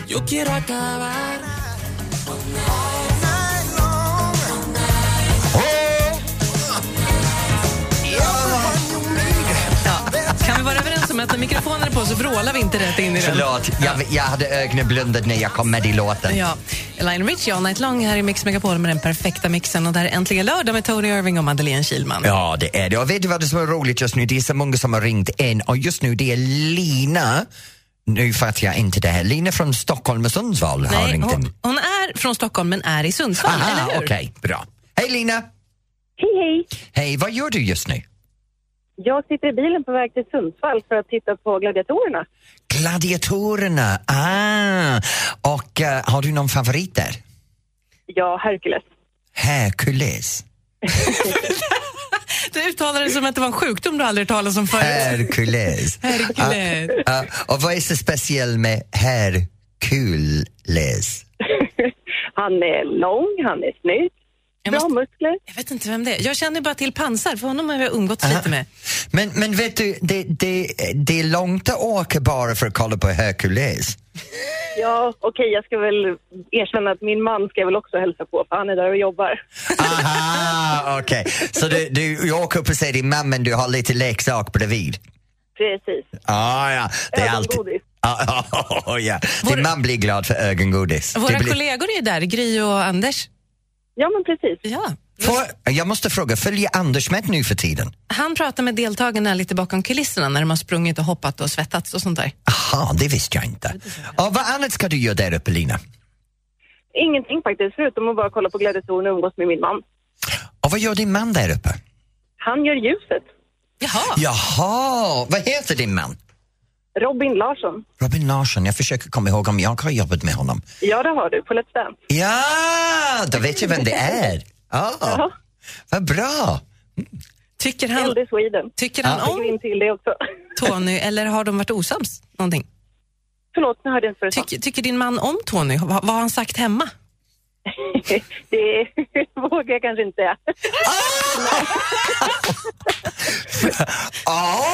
Speaker 3: yo quiero acabar.
Speaker 1: Kan vi vara överens om att när mikrofonen är på så vrålar vi inte rätt in i den?
Speaker 2: Förlåt, jag, jag hade ögonblundat när jag kom med i låten.
Speaker 1: Ja, Elaine Rich, All Night Long här i Mix Megapol med den perfekta mixen. Och där är äntligen lördag med Tony Irving och Madeleine Kilman.
Speaker 2: Ja, det är det. Och vet du vad det som är roligt just nu? Det är så många som har ringt in och just nu det är Lina, nu fattar jag inte det här, Lina från Stockholm och Sundsvall har
Speaker 1: Nej,
Speaker 2: ringt in.
Speaker 1: hon, hon är från Stockholm men är i Sundsvall, eller
Speaker 2: Aha,
Speaker 1: hur?
Speaker 2: okej, bra. Hej Lina!
Speaker 5: Hej, hej!
Speaker 2: Hej, vad gör du just nu?
Speaker 5: Jag sitter i bilen på väg till Sundsvall för att titta på gladiatorerna.
Speaker 2: Gladiatorerna, ah! Och eh, har du någon favorit där?
Speaker 5: Ja, Hercules.
Speaker 2: Hercules.
Speaker 1: Du uttalar det som att det var en sjukdom du aldrig hört talas om
Speaker 2: Eh,
Speaker 1: förut.
Speaker 2: Hercules.
Speaker 1: Hercules.
Speaker 2: Ah, och vad är så speciellt med Hercules?
Speaker 5: Han är lång, han är snygg,
Speaker 1: Jag,
Speaker 5: bra
Speaker 1: måste,
Speaker 5: muskler.
Speaker 1: jag vet inte vem det är. Jag känner bara till pansar, för honom har jag umgåtts lite med.
Speaker 2: Men, men vet du, det, det, det är långt att åka bara för att kolla på Hercules.
Speaker 5: Ja, okej, jag ska väl erkänna att min man ska väl också hälsa på för han är där och jobbar.
Speaker 2: Aha, okej. Så du, du, du åker upp och ser din mamma men du har lite leksak bredvid?
Speaker 5: Precis.
Speaker 2: Ah, ja, det är alltid...
Speaker 5: Ögongodis.
Speaker 2: Ah, ja. *laughs* Din man blir glad för ögongodis. Det
Speaker 1: Våra
Speaker 2: blir-
Speaker 1: kollegor är ju där, Gry och Anders.
Speaker 5: Ja, men precis.
Speaker 1: Ja.
Speaker 2: Får, jag måste fråga, följer Anders med nu för tiden?
Speaker 1: Han pratar med deltagarna lite bakom kulisserna när de har sprungit och hoppat och svettats och sånt där.
Speaker 2: Aha, det visste jag inte. Och vad annat ska du göra där uppe, Lina?
Speaker 5: Ingenting faktiskt, förutom att bara kolla på gladiatorerna och umgås med min man.
Speaker 2: Och vad gör din man där uppe?
Speaker 5: Han gör ljuset.
Speaker 1: Jaha!
Speaker 2: Jaha, vad heter din man?
Speaker 5: Robin Larsson.
Speaker 2: Robin Larsson, jag försöker komma ihåg om jag har jobbat med honom.
Speaker 5: Ja, det har du, på Let's Dance.
Speaker 2: Ja, då vet jag vem det är. Ja, vad bra.
Speaker 1: Tycker han,
Speaker 5: Eld i Sweden.
Speaker 1: tycker han
Speaker 5: Jag
Speaker 1: om
Speaker 5: in till det också. *laughs*
Speaker 1: Tony eller har de varit osams? Någonting?
Speaker 5: Förlåt, nu hörde jag inte vad du sa.
Speaker 1: Tycker, tycker din man om Tony? Va- Vad har han sagt hemma?
Speaker 5: *laughs* Det vågar jag kanske inte säga.
Speaker 2: Åh!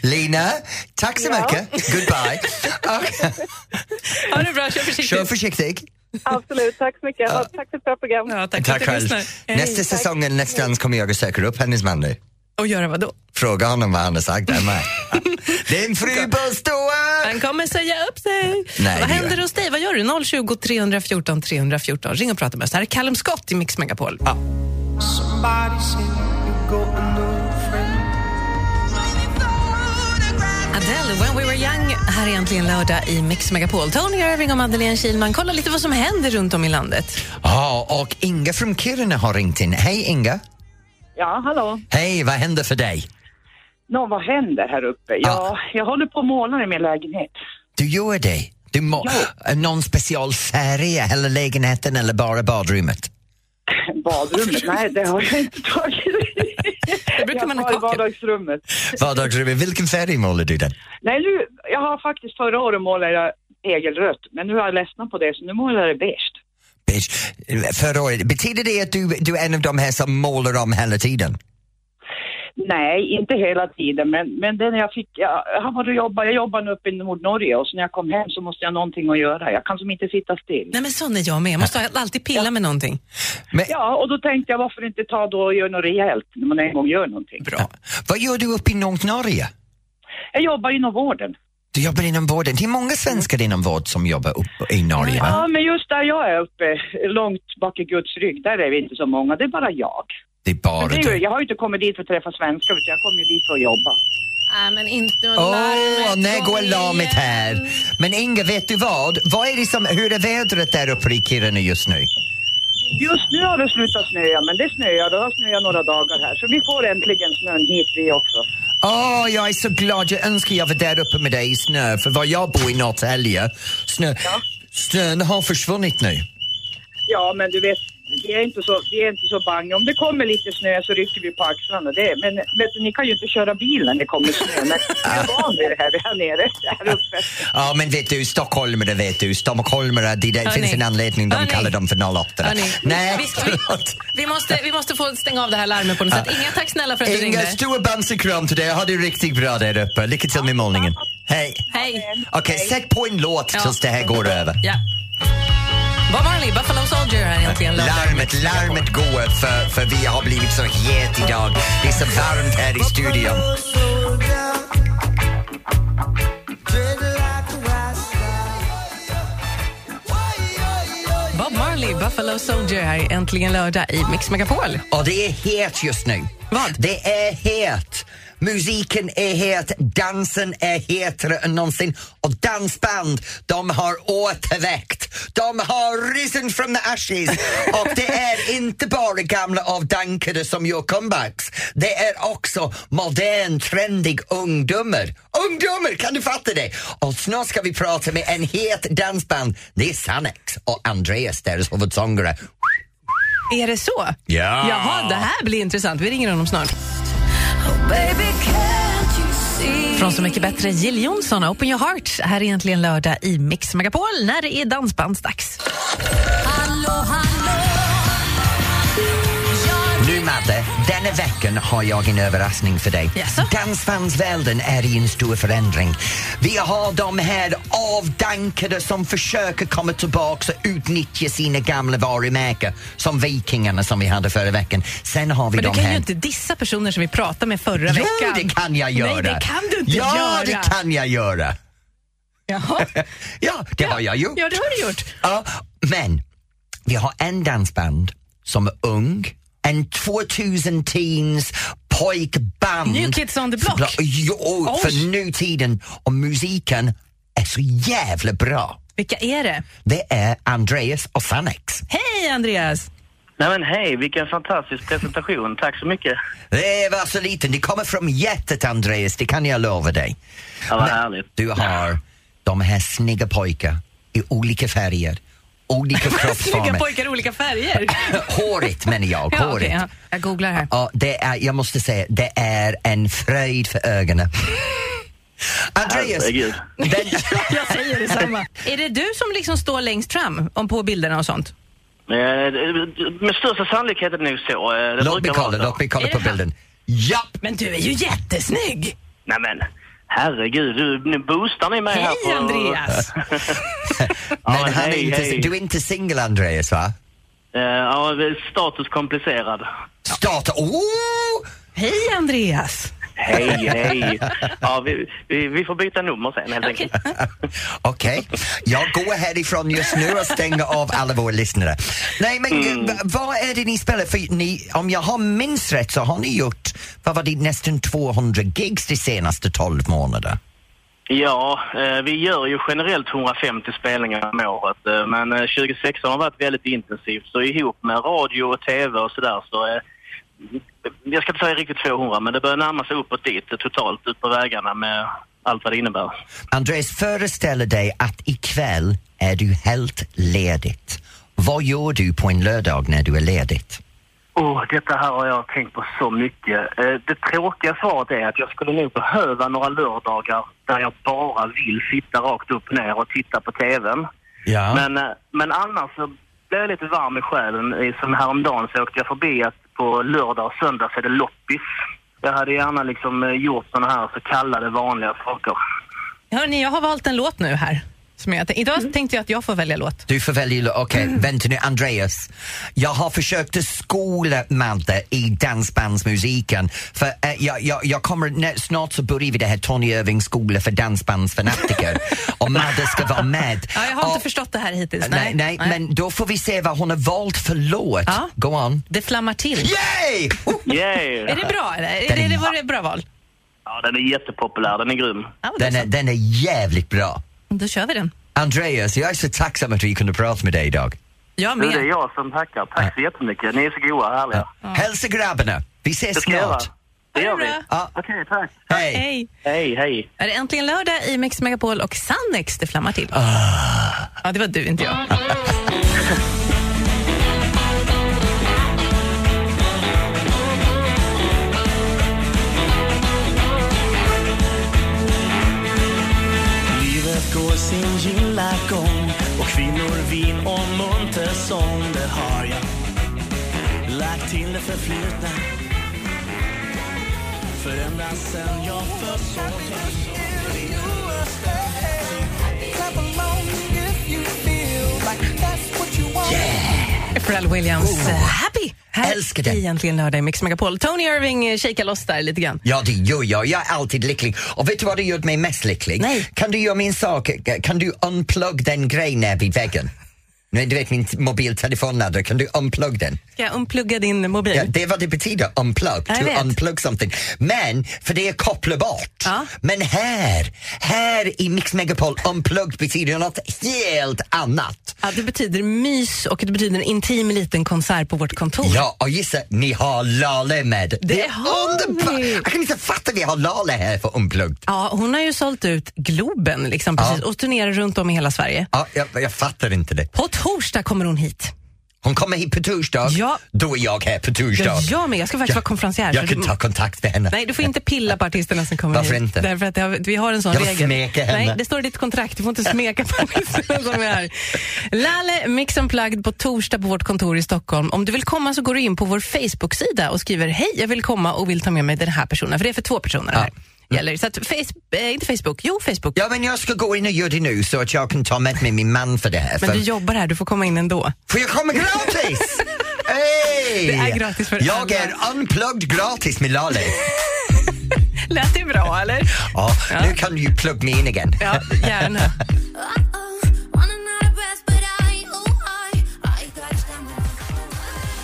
Speaker 2: *laughs* Lina, tack så mycket. Goodbye. Och-
Speaker 1: Ha det bra, kör försiktigt.
Speaker 2: Kör försiktigt.
Speaker 5: Absolut, tack så mycket. Och tack för ett bra program.
Speaker 1: Ja, tack,
Speaker 2: Tack
Speaker 1: för att du
Speaker 2: själv.
Speaker 1: lyssnar. Hej.
Speaker 2: Nästa säsongen, nästa dans kommer jag att söka upp hennes man nu.
Speaker 1: Och göra vad då?
Speaker 2: Fråga honom vad han har sagt till mig. Din fru bör stå här.
Speaker 1: Han kommer säga upp sig.
Speaker 2: Nej,
Speaker 1: vad
Speaker 2: det
Speaker 1: händer
Speaker 2: gör-
Speaker 1: hos dig? Vad gör du? 020 314 314. Ring och prata med oss. Det här är Callum Scott i Mix Megapol.
Speaker 3: Somebody said you got a new friend.
Speaker 1: Adele, When We Were Young. Här är äntligen lördag i Mix Megapol. Tony Irving och Madeleine Kilman. Kolla lite vad som händer runt om i landet.
Speaker 2: Ja, och Inga från Kiruna har ringt in. Hej Inga.
Speaker 10: Ja, hallå.
Speaker 2: Hej, vad händer för dig?
Speaker 10: Nå, vad händer här uppe? Ja, jag håller på och målar i min lägenhet.
Speaker 2: Du gör det? Du må... Någon special färg i hela lägenheten eller bara badrummet?
Speaker 10: Badrummet? Nej, det har jag inte tagit.
Speaker 1: Det brukar man ha
Speaker 10: jag tar
Speaker 1: kakel.
Speaker 10: vardagsrummet.
Speaker 2: Vardagsrummet, vilken färg målar du den?
Speaker 10: Nej, nu, jag har faktiskt förra året målade jag egelrött, men nu har jag ledsnat på det, så nu målar jag det beige.
Speaker 2: Bitch förra året. Betyder det att du, du är en av de här som målar om hela tiden?
Speaker 10: Nej, inte hela tiden, men, men den jag fick, jag, jag var och jobbade, jag jobbade uppe i Nordnorge och så när jag kom hem så måste jag någonting att göra. Jag kan som inte sitta still.
Speaker 1: Nej men sån är jag med, jag måste alltid pilla med någonting.
Speaker 10: Ja, och då tänkte jag varför inte ta då och göra något rejält när man en gång gör någonting.
Speaker 2: Bra. Vad gör du uppe i Nordnorge?
Speaker 10: Jag jobbar inom vården.
Speaker 2: Du jobbar inom vården. Det är många svenskar inom vård som jobbar uppe i Norge,
Speaker 10: Ja,
Speaker 2: va?
Speaker 10: men just där jag är uppe, långt bak i Guds rygg, där är vi inte så många. Det är bara jag.
Speaker 2: Det är bara
Speaker 10: det är
Speaker 2: du.
Speaker 10: ju, jag har ju inte kommit dit för att träffa svenskar, utan jag kommer ju dit för att jobba.
Speaker 1: Nej men inte
Speaker 2: Åh, när går larmet här? Men Inga, vet du vad? vad är det som, hur är vädret där uppe i Kiruna just nu?
Speaker 10: Just nu har det slutat snöa, men det snöar. Det har snöat några dagar här, så vi får äntligen snön hit vi också.
Speaker 2: Åh, jag är så glad. Jag önskar jag var där uppe med dig i snö, för var jag bor i Norrtälje, snö, snön har försvunnit nu.
Speaker 10: Ja, men du vet, vi är inte så, vi är inte så bang. Om det kommer lite snö så rycker vi på axlarna. Det, är- men vet du, ni kan ju inte köra bil när det kommer snö. *laughs* Men vi är van vid det här, här nere. Här uppe.
Speaker 2: Ja, men vet du, stockholmare vet du, stockholmare, det där
Speaker 1: Hörni.
Speaker 2: finns en anledning de
Speaker 1: Hörni.
Speaker 2: kallar dem för 08.
Speaker 1: Hörni.
Speaker 2: Nej,
Speaker 1: Vi ska-
Speaker 2: förlåt.
Speaker 1: Vi måste, vi måste få stänga av det här larmet på något sätt. Inga tack snälla för att du
Speaker 2: Inga,
Speaker 1: ringde.
Speaker 2: stor bamse och kram till dig. Ha det riktigt bra där uppe. Lycka till med målningen. Hej.
Speaker 1: Hej.
Speaker 2: Okej, sätt på en låt
Speaker 1: Ja.
Speaker 2: tills det här går över.
Speaker 1: Ja. Bob Marley, Buffalo Soldier här egentligen.
Speaker 2: Larmet, larmet går för, för vi har blivit så het idag. Det är så varmt här i studion.
Speaker 1: Bob Marley, Buffalo Soldier här äntligen lördag i Mix Megapol.
Speaker 2: Och det är het just nu. Vad? Det är het. Musiken är het, dansen är hetare än någonsin och dansband, de har återväckt. De har risen from the ashes och det är inte bara gamla avdankade som gör comebacks. Det är också modern, trendig ungdomar. Ungdomar, kan du fatta det? Och snart ska vi prata med en het dansband. Det är Sannex och Andreas, deras huvudsångare.
Speaker 1: Är det så?
Speaker 2: Ja.
Speaker 1: Jaha, det här blir intressant. Vi ringer honom snart.
Speaker 7: Baby, can't you see?
Speaker 1: Från Så mycket bättre, Jill Johnson och Open Your Heart. Här är egentligen lördag i Mix Megapol när det är dansbandsdags.
Speaker 7: Hallå, hallå.
Speaker 2: Nu Madde, denna veckan har jag en överraskning för dig. Dansbandsvärlden är i en stor förändring. Vi har de här avdankade som försöker komma tillbaka och utnyttja sina gamla varumärken. Som vikingarna som vi hade förra veckan. Sen har vi
Speaker 1: Men du
Speaker 2: de
Speaker 1: kan
Speaker 2: här...
Speaker 1: ju inte dissa personer som vi pratade med förra
Speaker 2: Jo,
Speaker 1: veckan.
Speaker 2: det kan jag göra.
Speaker 1: Nej, det kan du inte
Speaker 2: ja,
Speaker 1: göra.
Speaker 2: det kan jag göra.
Speaker 1: Jaha.
Speaker 2: Ja, det har jag gjort.
Speaker 1: Ja, det har du gjort.
Speaker 2: Ja, men vi har en dansband som är ung, en 2010s pojkband.
Speaker 1: New Kids on the Block.
Speaker 2: Bla- Jo, oj, för nutiden. Och musiken är så jävla bra.
Speaker 1: Vilka är det?
Speaker 2: Det är Andreas och Sannex.
Speaker 1: Hej Andreas!
Speaker 11: Nej men hej, vilken fantastisk presentation. Tack så mycket.
Speaker 2: Det var så liten. Det kommer från hjärtat, Andreas. Det kan jag lova dig.
Speaker 11: Ja, vad
Speaker 2: Men
Speaker 11: härligt.
Speaker 2: Du har de här snygga pojkar i olika färger,
Speaker 1: *laughs*
Speaker 2: olika
Speaker 1: Snygga
Speaker 2: kroppsformer.
Speaker 1: pojkar i olika färger.
Speaker 2: Håret menar jag,
Speaker 1: Ja,
Speaker 2: håret.
Speaker 1: okej, ja. Jag googlar här.
Speaker 2: Ja, det är, jag måste säga, det är en fröjd för
Speaker 11: *laughs*
Speaker 2: ögonen. Andreas,
Speaker 11: Herregud. *laughs*
Speaker 2: den,
Speaker 1: *laughs* Jag säger detsamma. är det du som liksom står längst fram om på bilderna och sånt?
Speaker 11: Eh, Med största sannolikhet är det nog så. Eh, Det
Speaker 2: låt mig
Speaker 11: brukar vara
Speaker 2: kolla,
Speaker 11: så.
Speaker 2: låt mig kolla
Speaker 1: Är
Speaker 2: på
Speaker 1: det han?
Speaker 2: bilden. Japp!
Speaker 1: Men du är ju jättesnygg!
Speaker 11: Nej men, herregud. Du, nu boostar ni mig här
Speaker 1: Hej
Speaker 11: på...
Speaker 1: Andreas!
Speaker 2: Men
Speaker 11: men
Speaker 2: han är
Speaker 11: hej,
Speaker 2: inte,
Speaker 11: hej.
Speaker 2: du är inte singel Andreas va?
Speaker 11: *laughs* Eh, Ja, status komplicerad.
Speaker 2: Starta, oh! *laughs*
Speaker 1: Hej Andreas!
Speaker 11: Hej, hej. Ja, vi, vi, vi får byta nummer sen helt enkelt.
Speaker 2: Okej, jag går härifrån just nu och stänger av alla våra lyssnare. Nej men
Speaker 11: Mm.
Speaker 2: gud, v- vad är det ni spelar? För ni, om jag har minst rätt så har ni gjort, vad var det, nästan 200 gigs de senaste 12 månaderna.
Speaker 11: Ja, eh, vi gör ju generellt 150 spelningar om året. eh, Men eh, 2016 har varit väldigt intensivt. Så ihop med radio och tv och sådär så... eh, Jag ska inte säga riktigt 200 men det börjar närma sig uppåt dit eh, totalt ut på vägarna med allt vad det innebär.
Speaker 2: Andreas, föreställ dig att ikväll är du helt ledigt. Vad gör du på en lördag när du är ledigt?
Speaker 11: Oh, detta här har jag tänkt på så mycket. Eh, Det tråkiga svaret är att jag skulle nog behöva några lördagar där jag bara vill sitta rakt upp och ner och titta på TVn.
Speaker 2: Ja.
Speaker 11: Men, eh, men annars så blev jag lite varm i själen. eh, Som häromdagen så åkte jag förbi att på lördag och söndag så är det loppis. Jag hade gärna liksom eh, gjort sådana här så kallade vanliga saker.
Speaker 1: Hörni, jag har valt en låt nu här. Som jag, idag tänkte jag att jag får välja låt.
Speaker 2: Du får välja, okej,
Speaker 1: Mm.
Speaker 2: vänta nu, Andreas. Jag har försökt att skola Madde i dansbandsmusiken. För eh, jag, jag, jag kommer, nä- snart så börjar vi det här Tony Irving skola
Speaker 1: *laughs*
Speaker 2: för dansbandsfanatiker. och Madde ska vara med.
Speaker 1: Ja, jag har inte förstått det här hittills.
Speaker 2: Nej, nej, men då får vi se vad hon har valt för låt. Go on.
Speaker 1: Det flammar till.
Speaker 2: Yay!
Speaker 11: Yay!
Speaker 1: Är det bra eller? Är
Speaker 2: Den
Speaker 1: det,
Speaker 2: är-
Speaker 1: det var det ett bra val?
Speaker 11: *laughs* Ja, den är jättepopulär. Den är grym.
Speaker 2: Den är, den är jävligt bra.
Speaker 1: Då kör vi den.
Speaker 2: Andreas, jag är så tacksam att vi kunde prata med dig idag.
Speaker 1: Jag
Speaker 11: med. Du, det är jag som tackar. Tack så jättemycket. Ni är så goa och härliga.
Speaker 2: Hälsa grabbarna. Vi ses
Speaker 11: Det ska jag göra.
Speaker 2: snart.
Speaker 11: Det gör vi.
Speaker 2: Ja.
Speaker 11: Okej, tack.
Speaker 2: Hej.
Speaker 1: Hej.
Speaker 11: Hej, hej.
Speaker 1: Är det äntligen lördag i Mix Megapol och Sannex det flammar till?
Speaker 2: Ah.
Speaker 1: Ja, det var du, inte jag.
Speaker 3: Livet går sin gilla gång och kvinnor, vin och munter sång det har jag lagt till det förflutna för ända sen jag föddes
Speaker 1: Pharrell Williams, eh, Happy! Här
Speaker 2: Oh. Älskar den.
Speaker 1: i Äntligen lördag i Mix Megapol. Tony Irving eh, shakar loss där lite grann.
Speaker 2: Ja, det gör jag. Jag är alltid lycklig. Och vet du vad det gjort mig mest lycklig? Kan du göra min sak? Kan du unplug den grejen här vid väggen? Nej, du vet min t- mobiltelefonladdare, kan du unplug den?
Speaker 1: Ska jag unplugga din mobil?
Speaker 2: Ja, det är vad det betyder, unplug,
Speaker 1: Mm. Jag vet.
Speaker 2: to unplug something. Men, för det är kopplbart. Men här, här i Mix Megapol, unplugged betyder något helt annat.
Speaker 1: Ja, det betyder mys och det betyder en intim liten konsert på vårt kontor.
Speaker 2: Ja, och gissa, ni har Lale med. Det, är
Speaker 1: har
Speaker 2: underbart! Jag kan inte fatta vi har Lale här för unplugged.
Speaker 1: Ja, hon har ju sålt ut Globen liksom, precis, och turnerar runt om i hela Sverige.
Speaker 2: Ja, jag, jag fattar inte det.
Speaker 1: På torsdag kommer hon hit.
Speaker 2: Hon kommer hit på torsdag.
Speaker 1: Ja.
Speaker 2: Då är jag här på torsdag.
Speaker 1: Ja, jag med. Jag ska faktiskt vara konferencier. så
Speaker 2: Jag kan
Speaker 1: du-
Speaker 2: ta kontakt med henne.
Speaker 1: Nej, du får inte pilla på artisterna som kommer
Speaker 2: Varför
Speaker 1: hit.
Speaker 2: inte?
Speaker 1: Därför att det har, vi har en sån
Speaker 2: Jag
Speaker 1: regel.
Speaker 2: smeker henne.
Speaker 1: Nej, det står i ditt kontrakt. Du får inte smeka på artisterna som är här. Lalle Mix Unplugged på torsdag på vårt kontor i Stockholm. Om du vill komma så går du in på vår Facebook-sida och skriver hej, jag vill komma och vill ta med mig den här personen. För det är för två personer det här. Gäller. Så att face, eh, inte Facebook, jo Facebook.
Speaker 2: Ja, men jag ska gå in och göra det nu så att jag kan ta med mig min man för det här.
Speaker 1: Men
Speaker 2: för...
Speaker 1: du jobbar här, du får komma in ändå.
Speaker 2: Får jag
Speaker 1: *laughs*
Speaker 2: komma gratis? Hey!
Speaker 1: Det är gratis för
Speaker 2: Jag är unplugged gratis med Lale.
Speaker 1: Lät det bra eller?
Speaker 2: Ja, Nu kan du ju plugga mig in igen.
Speaker 1: Ja, gärna.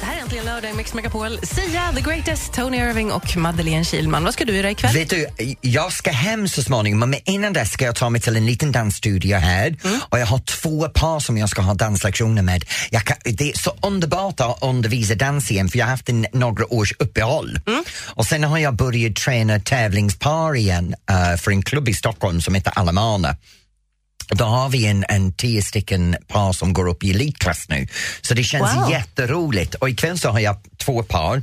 Speaker 1: Det här är äntligen lördag i Mix Megapol. Sia, The Greatest, Tony Irving och Madeleine Kilman. Vad ska du göra ikväll?
Speaker 2: Vet du, jag ska hem så småningom men innan det ska jag ta mig till en liten dansstudio här och jag har två par som jag ska ha danslektioner med. Jag kan, det är så underbart att undervisa dans igen för jag har haft en, några års uppehåll. Och sen har jag börjat träna tävlingspar igen eh, för en klubb i Stockholm som heter Alamana. Då har vi en, en tio stycken par som går upp i elitklass nu. Så det känns
Speaker 12: Wow.
Speaker 2: jätteroligt. Och ikväll så har jag två par.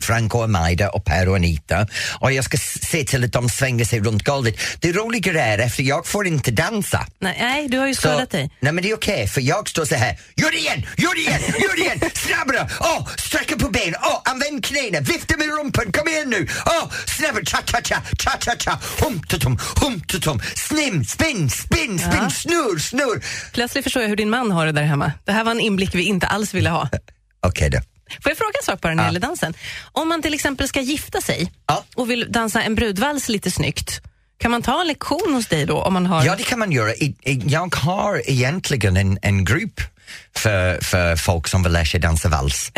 Speaker 2: Franco och Maida och Per och Anita och jag ska s- se till att de svänger sig runt golvet. Det roliga är efter jag får inte dansa.
Speaker 1: Nej, nej, du har ju skadat dig.
Speaker 2: Nej men det är okej för jag står så här, gör det igen, gör det igen, gör det igen, snabbare, åh, sträcka på benen, åh, använd knäna, vifta med rumpan, kom igen nu, åh, snabbare, cha-cha-cha, cha-cha-cha, hum-tutum, hum-tutum, snim, spinn, spinn, spinn, snurr, snurr.
Speaker 1: Plötsligt förstår jag hur din man har det där hemma. Det här var en inblick vi inte alls ville ha.
Speaker 2: Okej då.
Speaker 1: Får jag fråga en sak bara när det gäller dansen? Om man till exempel ska gifta sig och vill dansa en brudvals lite snyggt, kan man ta en lektion hos dig då? Om man har...
Speaker 2: Ja, det kan man göra. I- i- Jag har egentligen en, en grupp för, för folk som vill lära sig dansa vals.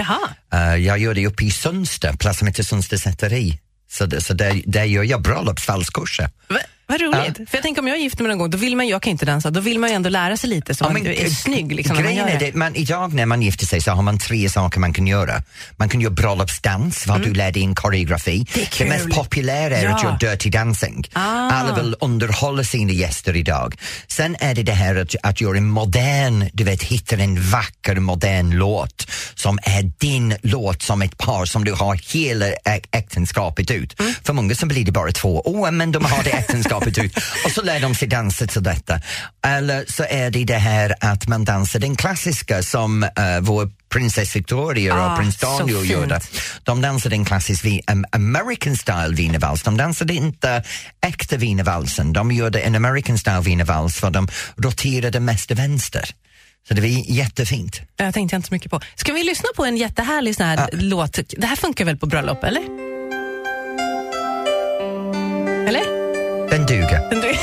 Speaker 2: Eh, jag gör det uppe i Sundsta, plats som heter Sundsta säteri. Så, det- så där, där gör jag bröllopsvalskurser.
Speaker 1: Va, vad roligt. För jag tänker om jag är gift med någon gång, då vill man, jag kan inte dansa, då vill man ju ändå lära sig lite så man är
Speaker 2: eh,
Speaker 1: snygg liksom, när man
Speaker 2: grejen
Speaker 1: gör
Speaker 2: är
Speaker 1: det.
Speaker 2: det, man, idag när man gifter sig så har man tre saker man kan göra. Man kan göra bröllopsdans, vad
Speaker 1: Mm.
Speaker 2: du lär dig in koreografi. Det, mest populära är att
Speaker 12: Ja.
Speaker 2: göra dirty dancing.
Speaker 12: Ah.
Speaker 2: Alla vill underhålla sina gäster idag. Sen är det det här att, att göra en modern, du vet, hitta en vacker modern låt som är din låt som ett par som
Speaker 12: Mm.
Speaker 2: du har hela ä- äktenskapet ut. För många så blir det bara två år Oh, men de har det äktenskapet skapligt
Speaker 12: *laughs*
Speaker 2: ut. Och så lär de sig dansa till detta. Eller så är det det här att man dansar den klassiska som eh, vår prinsess Victoria och
Speaker 12: Ah,
Speaker 2: prins
Speaker 12: så
Speaker 2: Daniel
Speaker 12: fint.
Speaker 2: gjorde. De dansade en klassisk vi- em- American style wienervals. De dansade inte äkta wienervalsen. De gjorde en American style wienervals för de roterade mest vänster. Så det var jättefint.
Speaker 1: Jag tänkte jag inte så mycket på. Ska vi lyssna på en jättehärlig sån här låt? Det här funkar väl på bröllop, eller? Eller?
Speaker 2: Den duger. *laughs*
Speaker 1: Den du-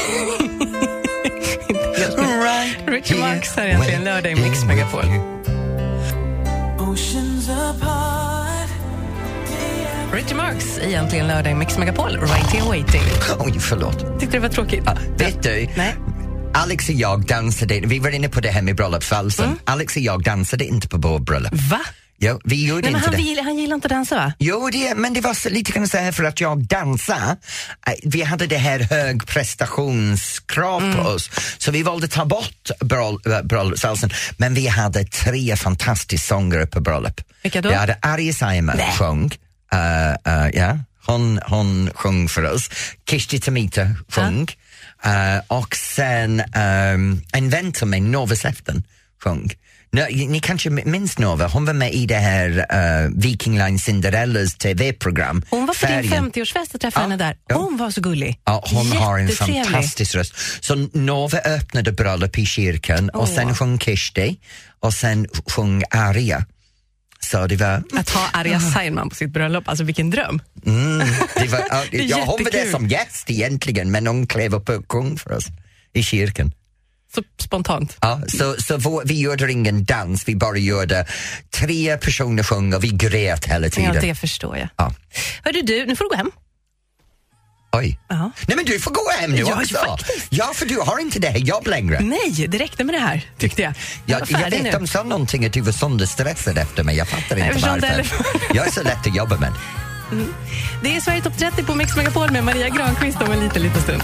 Speaker 1: Ricky Marx här egentligen, lördag i Mix Megapol.
Speaker 7: Oceans apart.
Speaker 1: Richie Marx egentligen lördag i Mix Megapol, Right here waiting.
Speaker 2: *laughs* Oj, förlåt.
Speaker 1: Tyckte det var tråkigt?
Speaker 2: Vet du? Alex och jag dansade, vi var inne på det här med bröllopsvalsen.
Speaker 1: Mm.
Speaker 2: Alex och jag dansade inte på vår bröllop.
Speaker 1: Va?
Speaker 2: Jo, vi gjorde
Speaker 1: Nej, men
Speaker 2: inte
Speaker 1: han,
Speaker 2: det.
Speaker 1: vill, han gillar inte att dansa, va?
Speaker 2: Jo, det, men det var så, lite grann så här för att jag dansar. eh, Vi hade det här hög prestationskrav
Speaker 1: Mm.
Speaker 2: på oss. Så vi valde ta bort bröll- eh, bröllopsvalsen. Men vi hade tre fantastiska sångare på bröllop.
Speaker 1: Vilka då?
Speaker 2: Vi hade Arje Saijonmaa sjöng. eh, eh, ja. hon, hon sjöng för oss. Kishti Tamita sjöng. Eh, och sen ehm, en vän till mig, Nova Sefton, sjöng. Nå- Ni kanske minns Nova, hon var med i det här eh, Viking Line Cinderellas TV-program.
Speaker 1: Hon var på din
Speaker 2: Färgen.
Speaker 1: 50-årsfest, jag träffade henne där. Hon var så gullig.
Speaker 2: Ja, hon har en
Speaker 1: Jättetrevlig.
Speaker 2: fantastisk röst. Så Nova öppnade bröllop i kyrkan och sen sjöng Kishti och sen sjöng Arya. Så det var...
Speaker 1: Att ha Arja Saijonmaa på sitt bröllop, alltså vilken dröm.
Speaker 2: Mm, det var ja,
Speaker 1: Det är
Speaker 2: ja, hon var där
Speaker 1: jättekul.
Speaker 2: som gäst egentligen men hon klev upp och sjöng för oss i kyrkan.
Speaker 1: Så spontant.
Speaker 2: Ja, så så vår, vi gjorde ingen dans, vi bara gjorde tre personer sjöng och vi grät hela
Speaker 1: Ja,
Speaker 2: tiden.
Speaker 1: det förstår jag.
Speaker 2: Ja.
Speaker 1: Hördu du, nu får du gå hem.
Speaker 2: Oj. Nej men du får gå hem nu
Speaker 1: Ja,
Speaker 2: också. Ja, för du har inte det här jobb längre.
Speaker 1: Nej, det räckte med det här, tyckte jag.
Speaker 2: Jag,
Speaker 1: var
Speaker 2: jag
Speaker 1: färdig
Speaker 2: vet
Speaker 1: nu.
Speaker 2: de sa någonting att du var sönderstressad efter mig, jag fattar
Speaker 1: Jag
Speaker 2: inte
Speaker 1: förstår inte
Speaker 2: varför. jag är så lätt att jobba med.
Speaker 1: Det är Sverige topp 30 på Mix Megapol med Maria Granqvist om en liten, liten stund.